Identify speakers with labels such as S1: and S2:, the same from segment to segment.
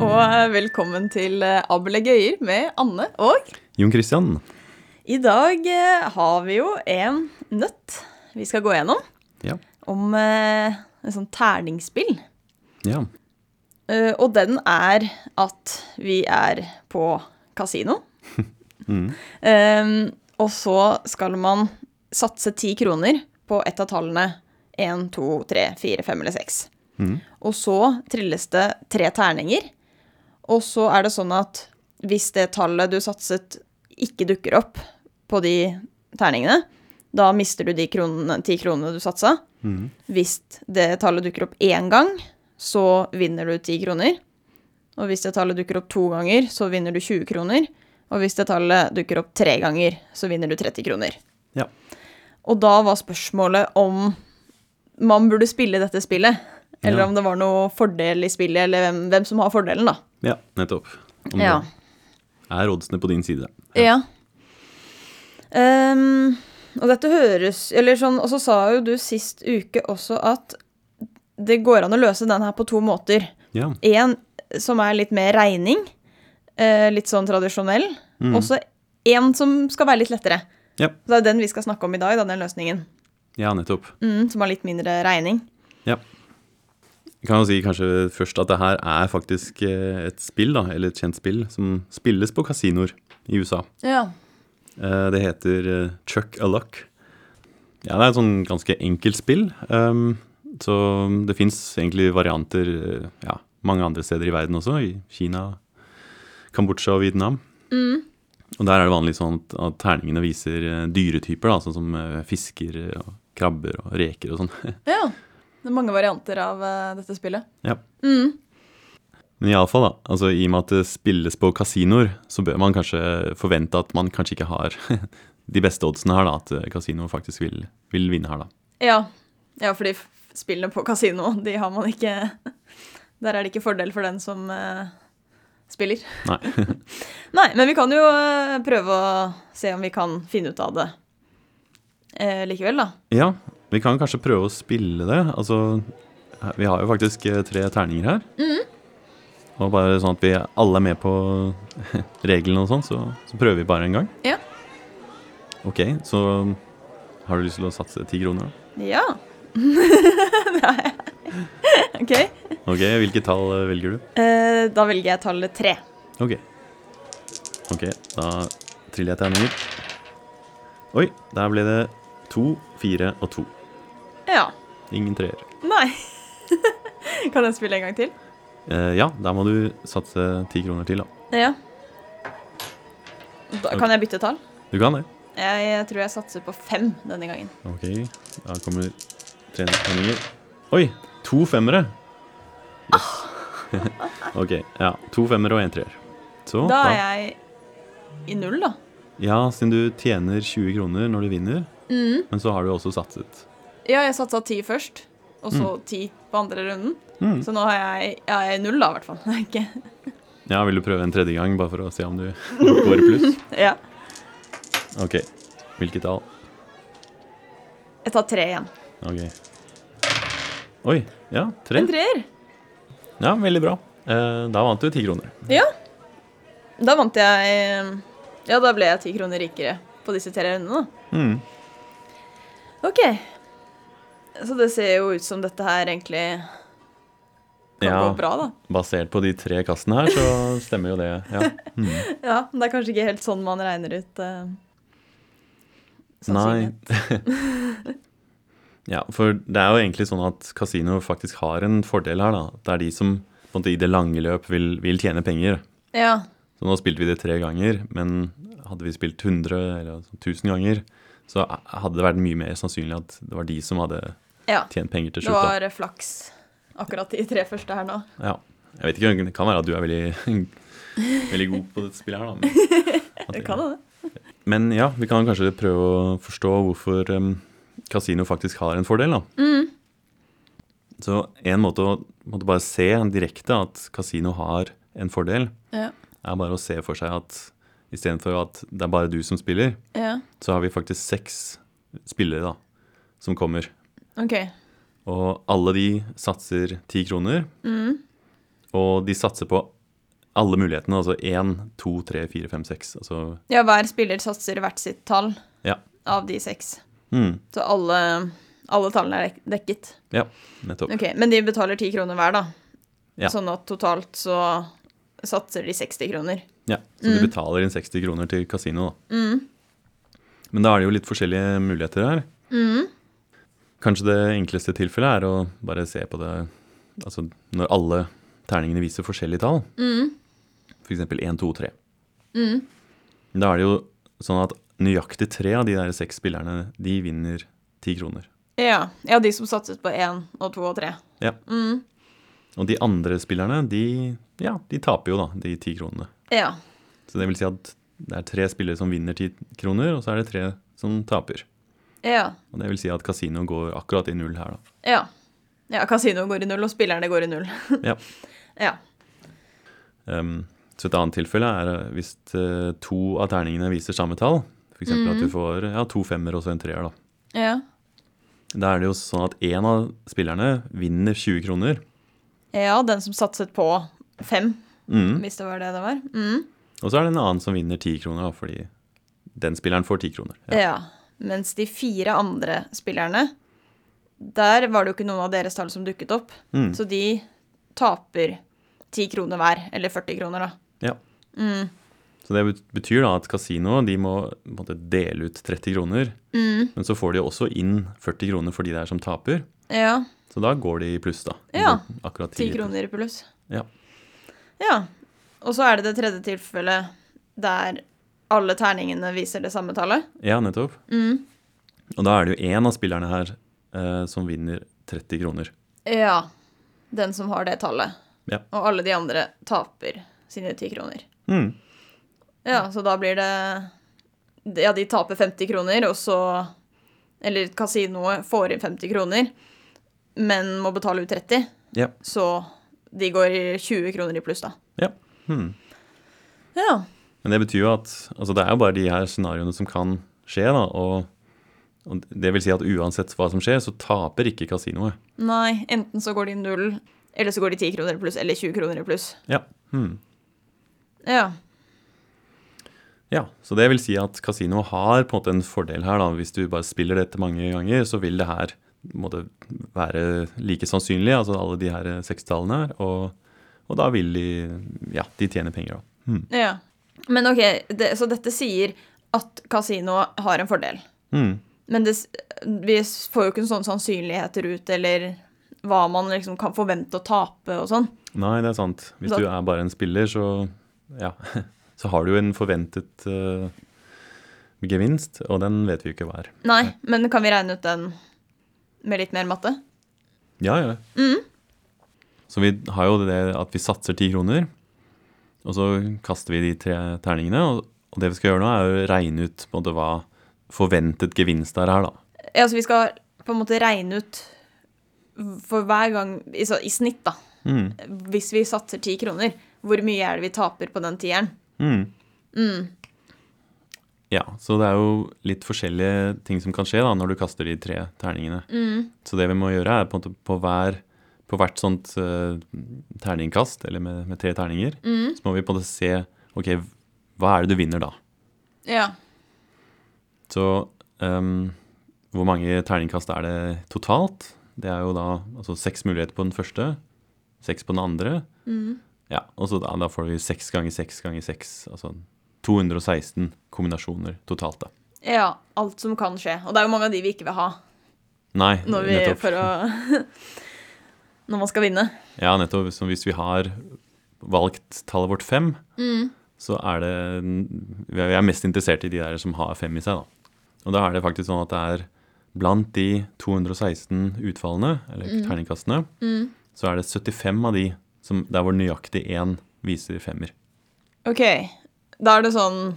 S1: Eh, Velkommen til eh, Abel er gøyer med Anne og
S2: Jon Christian,
S1: I dag eh, har vi jo en nøtt vi skal gå gjennom
S2: ja.
S1: om eh, en sånn terningsspill.
S2: ja.
S1: Eh, Og den er at vi er på kasino. Eh, og så skal man satse ti kroner på ett av tallene 1, 2, 3, 4, 5 eller 6.
S2: Mm.
S1: Og så trilles det tre terninger. Og så er det sånn at hvis det tallet du satset, ikke dukker opp på de terningene, da mister du de kronene, ti kronene du satsa. Hvis det tallet dukker opp én gang, så vinner du ti kroner. Og hvis det tallet dukker opp to ganger, så vinner du 20 kroner. Og hvis det tallet dukker opp tre ganger, så vinner du 30 kroner.
S2: ja.
S1: Og da var spørsmålet om man burde spille dette spillet. Eller
S2: Ja.
S1: om det var noe fordel i spillet, eller hvem, hvem som har fordelen, da.
S2: Ja, nettopp. Om
S1: Ja.
S2: det Er oddsene på din side?
S1: Ja. Ehm, og dette høres Eller sånn, og så sa jo du sist uke også at det går an å løse den her på to måter.
S2: Ja.
S1: Én som er litt mer regning, eh, litt sånn tradisjonell.
S2: Mm.
S1: Og så én som skal være litt lettere.
S2: Ja,
S1: Så Det er den vi skal snakke om i dag, da, den løsningen.
S2: ja nettopp.
S1: Mm, som har litt mindre regning.
S2: Ja. Jeg kan jo si kanskje først at det her er faktisk eh, et spill, da, eller et kjent spill, som spilles på kasinoer i USA.
S1: Ja.
S2: Eh, Det heter eh, Chuck a Luck. Ja, det er et sånn ganske enkelt spill. ehm, Så det fins egentlig varianter eh, ja, mange andre steder i verden også. I Kina, Kambodsja og Vietnam. Og der er det vanlig sånn at- at terningene viser eh, dyretyper, da, sånn som eh, fisker og krabber og reker og sånn.
S1: ja. Det er mange varianter av eh, dette spillet.
S2: ja.
S1: Mm.
S2: Men iallfall, da. Altså, I og med at det spilles på kasinoer, så bør man kanskje forvente at man kanskje ikke har de beste oddsene her, da. At eh, kasinoer faktisk vil, vil vinne her, da.
S1: Ja. ja, fordi f- spillene på kasino, de har man ikke Der er det ikke fordel for den som eh, spiller.
S2: Nei.
S1: Nei, men vi kan jo eh, prøve å se om vi kan finne ut av det eh, likevel, da.
S2: Ja, vi kan kanskje prøve å spille det. Altså, vi har jo faktisk eh, tre terninger her. Og bare sånn at vi alle er med på reglene og sånn, så, så prøver vi bare en gang.
S1: Ja.
S2: Ok, så har du lyst til å satse ti kroner, da?
S1: Ja. Nei. OK.
S2: Ok, hvilket tall eh, velger du?
S1: Eh, da velger jeg tallet tre.
S2: Ok. Ok, da triller jeg terninger. Oi, der ble det to, fire og to.
S1: Ja.
S2: Ingen treer.
S1: Nei. kan jeg spille en gang til?
S2: Eh, ja, der må du satse ti kroner til, da.
S1: Ja. Da, kan jeg bytte tall?
S2: Du kan det.
S1: Jeg, tror jeg satser på fem denne gangen.
S2: Ok, da kommer treningsterninger. Oi! To femmere! Yes. ok, ja. To femmere og en treer. Så,
S1: Da er jeg i null, da.
S2: Ja, siden du tjener 20 kroner når du vinner,
S1: Mm.
S2: men så har du også satset.
S1: Ja, jeg satsa ti først, og så ti på andre runden.
S2: Mm.
S1: Så nå har jeg, jeg er i null, da, i hvert fall. Ikke-
S2: Ja, vil du prøve en tredje gang, bare for å se om du går i pluss?
S1: ja.
S2: Ok, hvilket tall?
S1: Jeg tar tre igjen.
S2: Ok. Oi, ja, tre.
S1: En treer!
S2: Ja, veldig bra. Eh, da vant du ti kroner.
S1: Ja. Da vant jeg eh, Ja, da ble jeg ti kroner rikere på disse tre rundene, da.
S2: Mm.
S1: OK. Så det ser jo ut som dette her egentlig kan
S2: Ja,
S1: gå bra, da.
S2: basert på de tre kastene her, så stemmer jo det. Ja.
S1: Ja, men det er kanskje ikke helt sånn man regner ut eh,
S2: Nei.
S1: sannsynlighet.
S2: ja, for det er jo egentlig sånn at kasino faktisk har en fordel her, da. Det er de som på en måte i det lange løp vil, vil tjene penger.
S1: Ja.
S2: Så nå spilte vi det tre ganger, men hadde vi spilt 100 eller sånn 1000 ganger, så hadde det vært mye mer sannsynlig at det var de som hadde
S1: ja.
S2: tjent penger til
S1: Det
S2: slutt. da.
S1: var eh, flaks akkurat de tre første her nå.
S2: Ja. Jeg vet ikke, det kan være at du er veldig, veldig god på dette spillet her, da. Men, at
S1: Det kan det.
S2: Men ja, vi kan kanskje prøve å forstå hvorfor em, kasino faktisk har en fordel, da. Så en måte å måtte bare se direkte at kasino har en fordel,
S1: Ja.
S2: er bare å se for seg at istedenfor at det er bare du som spiller,
S1: ja.
S2: så har vi faktisk seks spillere da, som kommer.
S1: Ok.
S2: Og alle de satser ti kroner. Og de satser på alle mulighetene. Altså én, to, tre, fire, fem, seks. Altså
S1: Ja, hver spiller satser hvert sitt tall
S2: ja.
S1: av de seks.
S2: Mm,
S1: Så alle, alle tallene er dek- dekket.
S2: ja, nettopp.
S1: Ok, Men de betaler 10 kroner hver, da.
S2: Ja.
S1: Sånn at totalt så satser de 60 kroner.
S2: Ja, så du betaler inn 60 kroner til kasino, da.
S1: Mm.
S2: Men da er det jo litt forskjellige muligheter her.
S1: Mm.
S2: Kanskje det enkleste tilfellet er å bare se på det Altså når alle terningene viser forskjellige tall. For eksempel 1, 2, 3.
S1: Mm.
S2: Da er det jo sånn at nøyaktig tre av de der seks spillerne, de vinner 10 kroner.
S1: Ja, ja de som satset på 1 og 2 og Mm. 3.
S2: Ja. Og de andre spillerne, de, ja, de taper jo da, de 10 kronene.
S1: Ja.
S2: Så det vil si at det er tre spillere som vinner 10 kroner, og så er det tre som taper.
S1: Ja.
S2: Og det vil si at kasino går akkurat i null her, da.
S1: Ja. Ja, Kasinoet går i null, og spillerne går i null.
S2: Ja.
S1: ja.
S2: Ehm, så et annet tilfelle er eh, hvis eh, to av terningene viser samme tall, f.eks. eksempel
S1: Mhm.
S2: at du får ja, to femmer og så en treer, da.
S1: Ja.
S2: Da er det jo sånn at én av spillerne vinner 20 kroner.
S1: ja, den som satset på 5,
S2: Mhm.
S1: hvis det var det det var. Mm.
S2: Og så er det en annen som vinner 10 kroner, da, fordi den spilleren får 10 kroner.
S1: Ja. Mens de fire andre spillerne, der var det jo ikke noen av deres tall som dukket opp.
S2: Mm.
S1: Så de taper 10 kroner hver, eller 40 kroner, da. Mm.
S2: Ja. Så det bet- betyr da at kasinoet de må på en måte, dele ut 30 kroner,
S1: Mm.
S2: men så får de jo også inn 40 kroner for de der som taper.
S1: Ja.
S2: Så da går de i pluss, da. De
S1: Ja,
S2: går Akkurat
S1: 10
S2: i pluss.
S1: kroner i pluss.
S2: Ja.
S1: Ja. Og så er det det tredje tilfellet der alle terningene viser det samme tallet. Mm.
S2: ja, nettopp. Og da er det jo én av spillerne her eh, som vinner 30 kroner.
S1: Ja. Den som har det tallet.
S2: Ja.
S1: Og alle de andre taper sine ti kroner.
S2: Mm.
S1: Ja, så da blir det Ja, de taper 50 kroner, og så Eller kasinoet får inn 50 kroner, men må betale ut 30.
S2: Ja.
S1: Så de går i 20 kroner i pluss, da.
S2: ja. Mm.
S1: Ja.
S2: Men det betyr jo at altså det er jo bare de her scenarioene som kan skje, da. Og, og det vil si at uansett hva som skjer, så taper ikke kasinoet.
S1: Nei, enten så går de i null, eller så går de 10 kroner i pluss, eller 20 kroner i pluss.
S2: Ja. Mm.
S1: Ja.
S2: Ja, så det vil si at kasino har på en måte en fordel her. da. Hvis du bare spiller dette mange ganger, så vil det her må det være like sannsynlig, altså alle de her sekstallene her. Og, og da vil de Ja, de tjener penger, da. Hmm.
S1: ja. Men OK, det, så dette sier at kasinoet har en fordel.
S2: Hmm.
S1: Men det, s- vi s- får jo ikke sånne sannsynligheter ut, eller hva man liksom kan forvente å tape og sånn.
S2: Nei, det er sant. Hvis
S1: Da-
S2: du er bare en spiller, så ja, så har du jo en forventet eh, gevinst, og den vet vi jo ikke hva er.
S1: Nei, men kan vi regne ut den med litt mer matte?
S2: Ja, ja. Så vi har jo det at vi satser ti kroner, og så kaster vi de tre terningene. Og, og det vi skal gjøre nå, er å regne ut på en måte hva forventet gevinst er her, da.
S1: Ja, så vi skal på en måte regne ut for hver gang, i, så, i snitt da,
S2: Mm.
S1: hvis vi satser 10 kroner, hvor mye er det vi taper på den tieren?
S2: Mm. Ja, så det er jo litt forskjellige ting som kan skje da, når du kaster de tre terningene.
S1: mm,
S2: Så det vi må gjøre, er på, en måte på, hver, på hvert sånt eh, terningkast, eller med, med tre terninger,
S1: mm.
S2: så må vi på en måte se ok, hva er det du vinner da?
S1: Ja.
S2: Så ehm, hvor mange terningkast er det totalt? Det er jo da altså seks muligheter på den første, seks på den andre.
S1: Mm.
S2: Ja, og så da, da får vi seks ganger seks ganger seks, altså 216 kombinasjoner totalt, da.
S1: Ja, alt som kan skje. Og det er jo mange av de vi ikke vil ha
S2: Nei,
S1: når, vi,
S2: nettopp.
S1: for å, når man skal vinne.
S2: Ja, nettopp. Så hvis vi har valgt tallet vårt fem,
S1: Mm.
S2: så er det Vi er mest interessert i de der som har fem i seg, da. Og da er det faktisk sånn at det er blant de 216 utfallene, eller terningkastene, så er det 75 av de som der hvor nøyaktig én viser femmer.
S1: Ok, da er det sånn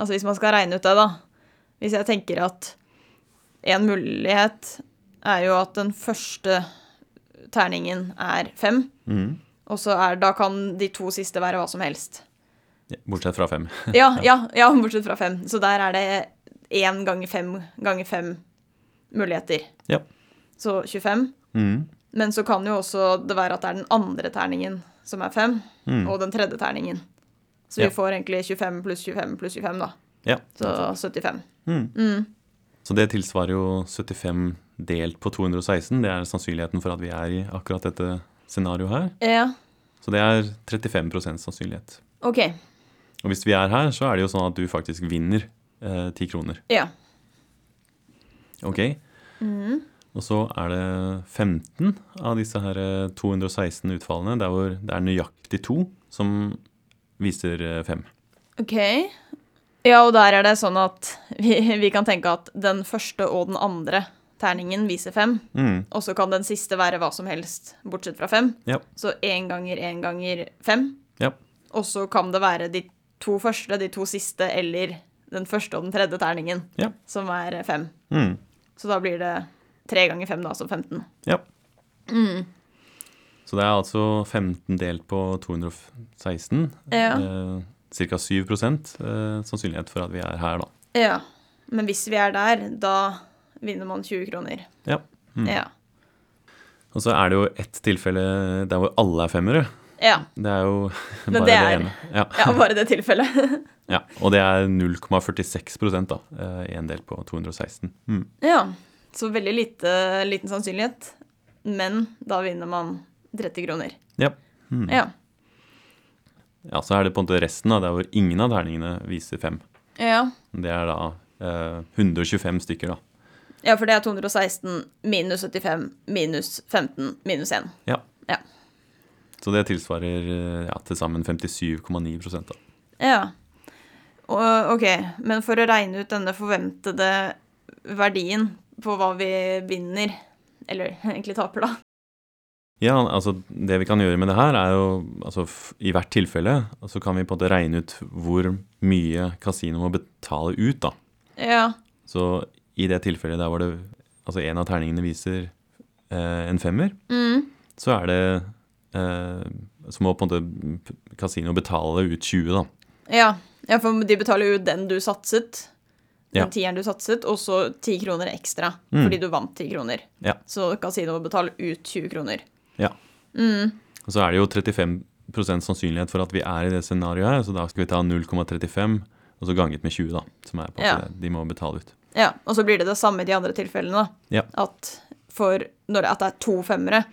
S1: Altså hvis man skal regne ut det, da. Hvis jeg tenker at en mulighet er jo at den første terningen er fem, og så er Da kan de to siste være hva som helst.
S2: Ja, Bortsett fra fem.
S1: Ja, ja, ja bortsett fra fem. Så der er det én ganger fem ganger fem muligheter.
S2: ja.
S1: Så 25.
S2: Mm.
S1: Men så kan jo også det være at det er den andre terningen som er fem,
S2: Mm.
S1: og den tredje terningen. Så
S2: Ja.
S1: vi får egentlig 25 pluss 25 pluss 25, da.
S2: Ja.
S1: Så 75.
S2: Mm.
S1: Mm.
S2: Så det tilsvarer jo 75 delt på 216. Det er sannsynligheten for at vi er i akkurat dette scenarioet her.
S1: Ja,
S2: Så det er 35 sannsynlighet.
S1: OK.
S2: Og hvis vi er her, så er det jo sånn at du faktisk vinner eh, 10 kroner.
S1: Ja.
S2: Ok?
S1: Mm.
S2: Og så er det 15 av disse her eh, 216 utfallene der hvor det er nøyaktig to som viser eh, fem.
S1: OK. Ja, og der er det sånn at vi, vi kan tenke at den første og den andre terningen viser fem,
S2: Mm.
S1: og så kan den siste være hva som helst, bortsett fra fem.
S2: Ja.
S1: Så én ganger én ganger fem.
S2: Ja.
S1: Og så kan det være de to første, de to siste, eller den første og den tredje terningen,
S2: Ja.
S1: som er fem.
S2: Mm.
S1: Så da blir det tre ganger fem, da, altså 15.
S2: Ja.
S1: Mm.
S2: Så det er altså 15 delt på 216.
S1: Ja.
S2: Eh, Ca. 7 eh, sannsynlighet for at vi er her, da.
S1: Ja. Men hvis vi er der, da vinner man 20 kroner.
S2: Ja. Mm.
S1: Ja.
S2: Og så er det jo ett tilfelle der hvor alle er femmere.
S1: ja.
S2: Det er jo
S1: Men
S2: bare
S1: det
S2: det,
S1: er-
S2: ene. Ja.
S1: Ja, bare det tilfellet.
S2: Ja. Og det er 0,46 da. eh, En del på 216. Mm.
S1: ja. Så veldig lite, liten sannsynlighet. Men da vinner man 30 kroner.
S2: Ja. Mm.
S1: Ja.
S2: ja. Så er det på en måte resten, da, der hvor ingen av terningene viser fem.
S1: Ja.
S2: Det er da eh, 125 stykker, da.
S1: ja, for det er 216 minus 75 minus 15 minus 1.
S2: Ja.
S1: Ja.
S2: Så det tilsvarer eh, ja, til sammen 57,9 da.
S1: Ja. Og, ok, men for å regne ut denne forventede verdien på hva vi vinner, eller egentlig taper, da.
S2: Ja, altså det vi kan gjøre med det her, er jo altså f- i hvert tilfelle så kan vi på en måte regne ut hvor mye kasino må betale ut, da.
S1: Ja.
S2: Så i det tilfellet der hvor det altså en av terningene viser eh, en femmer,
S1: Mm.
S2: så er det eh, Så må på en måte p- kasino betale ut 20, da.
S1: ja. Ja, for de betaler jo den du satset, den
S2: Ja.
S1: tieren du satset, og så ti kroner ekstra
S2: Mm.
S1: fordi du vant ti kroner.
S2: Ja.
S1: Så kasino betaler ut 20 kroner.
S2: Ja.
S1: Mm.
S2: Og så er det jo 35 sannsynlighet for at vi er i det scenarioet her, så da skal vi ta 0,35 og så ganget med 20, da, som er på en
S1: Ja.
S2: måte det de må betale ut.
S1: Ja, og så blir det det samme i de andre tilfellene. da.
S2: Ja.
S1: At for når det, at det er to femmere,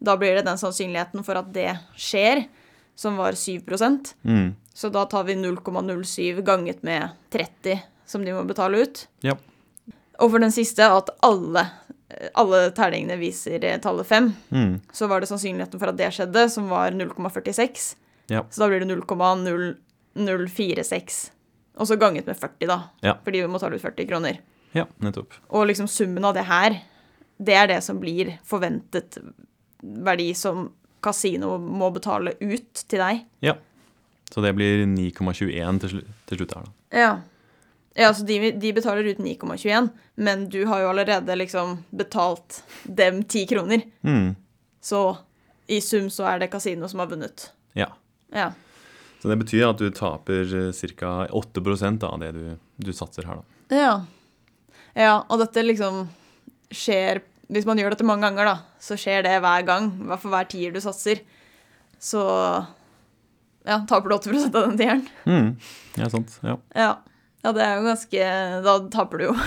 S1: da blir det den sannsynligheten for at det skjer, som var 7
S2: Mm.
S1: Så da tar vi 0,07 ganget med 30, som de må betale ut.
S2: Ja.
S1: Og for den siste, at alle, alle terningene viser eh, tallet 5,
S2: Mm.
S1: så var det sannsynligheten for at det skjedde, som var 0,46.
S2: Ja.
S1: Så da blir det 0,0046. Og så ganget med 40, da.
S2: Ja.
S1: Fordi vi må ta ut 40 kroner.
S2: ja, nettopp.
S1: Og liksom summen av det her, det er det som blir forventet verdi som kasino må betale ut til deg.
S2: Ja. Så det blir 9,21 til, slu til slutt her, da.
S1: Ja. Ja, så de, de betaler ut 9,21, men du har jo allerede liksom betalt dem 10 kroner.
S2: Mm.
S1: Så i sum så er det kasino som har vunnet.
S2: Ja.
S1: Ja.
S2: Så det betyr at du taper eh, ca. 8 da, av det du, du satser her, da.
S1: Ja. Ja, og dette liksom skjer Hvis man gjør dette mange ganger, da, så skjer det hver gang. Hver for hver tier du satser. Så ja, taper du 8 av den tieren.
S2: Mm. Ja, sant. Ja.
S1: Ja. ja, det er jo ganske Da taper du jo.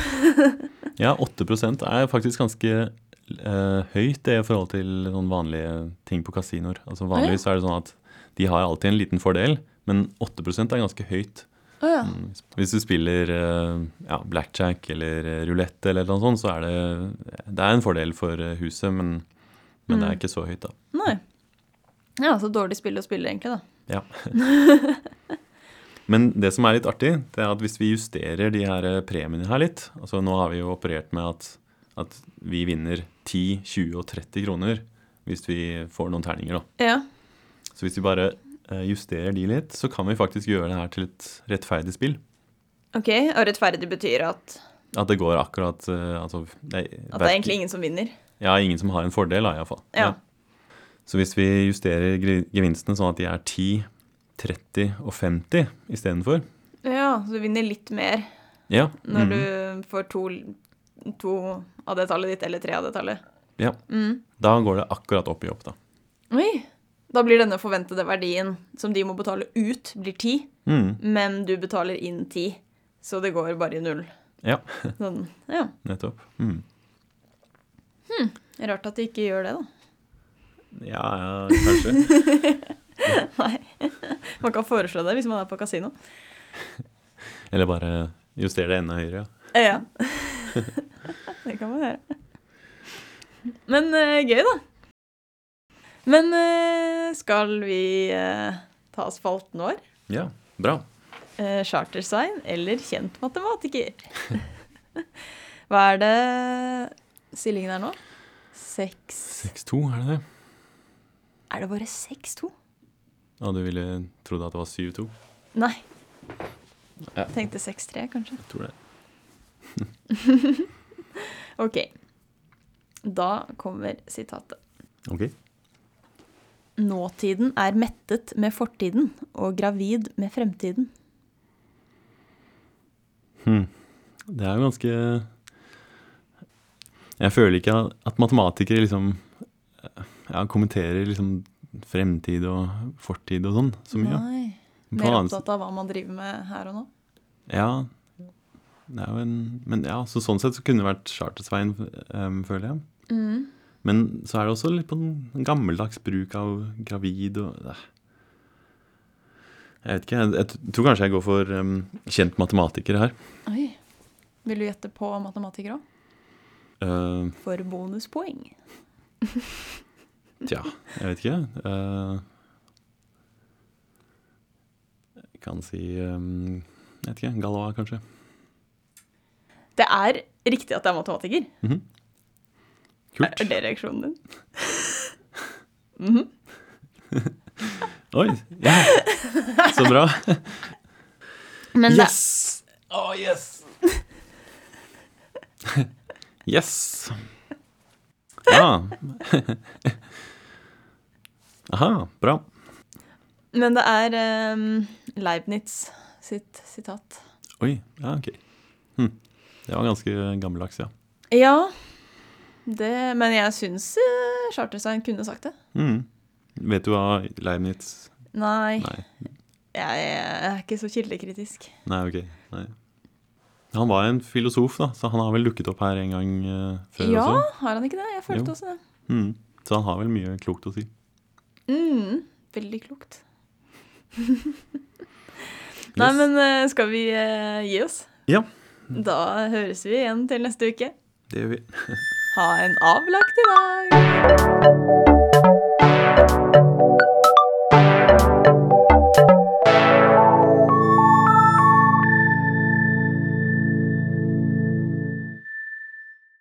S2: ja, 8 er faktisk ganske eh, høyt det i forhold til sånn vanlige ting på kasinoer. Altså Vanligvis er det sånn at de har alltid en liten fordel, men 8 er ganske høyt.
S1: ja.
S2: Mm. Hvis du spiller eh, ja, blackjack eller eh, rulette eller noe sånt, så er det, det er en fordel for eh, huset, men, men det er ikke så høyt, da.
S1: Nei. Ja, så dårlig spill å spille, egentlig, da.
S2: Ja. Men det som er litt artig, det er at hvis vi justerer de her premiene her litt altså Nå har vi jo operert med at, at vi vinner 10, 20 og 30 kroner hvis vi får noen terninger. da.
S1: Ja.
S2: Så hvis vi bare eh, justerer de litt, så kan vi faktisk gjøre det her til et rettferdig spill.
S1: OK, og rettferdig betyr at,
S2: At det går akkurat eh, altså, det,
S1: at det er egentlig ingen som vinner.
S2: Ja, ingen som har en fordel, da, iallfall.
S1: Ja.
S2: Så hvis vi justerer gri- gevinstene sånn at de er 10, 30 og 50 istedenfor
S1: Ja, så du vinner litt mer
S2: ja,
S1: når
S2: mhm.
S1: du får to, to av det tallet ditt, eller tre av det tallet.
S2: Ja.
S1: Mm.
S2: Da går det akkurat opp i opp, da.
S1: Oi. Da blir denne forventede verdien som de må betale ut, blir 10.
S2: Mm.
S1: Men du betaler inn 10, så det går bare i null.
S2: Ja,
S1: Sånn, ja.
S2: nettopp. Mm.
S1: Rart at de ikke gjør det, da.
S2: Ja, ja, kanskje.
S1: Man kan foreslå det hvis man er på kasino.
S2: Eller bare justere det enda høyere. ja.
S1: Ja. det kan man gjøre. Men eh, gøy, da. Men eh, skal vi eh, ta spalten vår?
S2: Ja, bra.
S1: Eh, Chartersvein eller kjent matematiker? Hva er det stillingen er nå? Seks
S2: 6-2, er det det?
S1: Er det bare 6-2?
S2: Ja, du ville trodd at det var 7-2.
S1: Nei.
S2: Ja.
S1: Tenkte 6-3, kanskje.
S2: Jeg tror det.
S1: Ok. Da kommer sitatet.
S2: Ok.
S1: Nåtiden er mettet med fortiden og gravid med fremtiden.
S2: Mm. Det er jo ganske Jeg føler ikke at matematikere liksom ja, kommenterer liksom fremtid og fortid og sånn så mye.
S1: Nei.
S2: På
S1: Mer
S2: annen
S1: opptatt av hva man driver med her og nå.
S2: Ja. Det er jo en, men ja, så sånn sett så kunne det vært Chartersveien, em, føler jeg. Men så er det også litt på den gammeldags bruk av gravid og eh. Jeg vet ikke. Jeg, jeg tror kanskje jeg går for em, kjent matematiker her.
S1: Oi. Vil du gjette på matematikere òg?
S2: Eh,
S1: For bonuspoeng.
S2: tja, jeg vet ikke. Eh, jeg kan si em, Jeg vet ikke. Galois, kanskje.
S1: Det er riktig at det er matematiker.
S2: Kult.
S1: Er det reaksjonen din? Mhm.
S2: Oi! Ja. Så bra.
S1: Men det,
S2: yes! Oh, yes! yes. Ja. Aha, bra.
S1: men det er ehm, Leibniz sitt sitat.
S2: Oi, ja, ok. Hm. Det var ganske gammeldags, ja.
S1: Ja, det, men jeg syns eh, Charterstein kunne sagt det.
S2: Mm. Vet du hva Leibniz
S1: Nei,
S2: Nei.
S1: Jeg, er ikke så kildekritisk.
S2: Nei, ok. Nei. Han var en filosof, da, så han har vel dukket opp her en gang eh, før
S1: Ja,
S2: også.
S1: har han ikke det? Jeg følte
S2: Jo.
S1: også det.
S2: Mm. Så han har vel mye klokt å si.
S1: Mm, veldig klokt.
S2: Yes.
S1: Nei, men eh, skal vi eh, gi oss?
S2: Ja,
S1: Da høres vi igjen til neste uke.
S2: det gjør vi.
S1: Ha en avlagt i dag!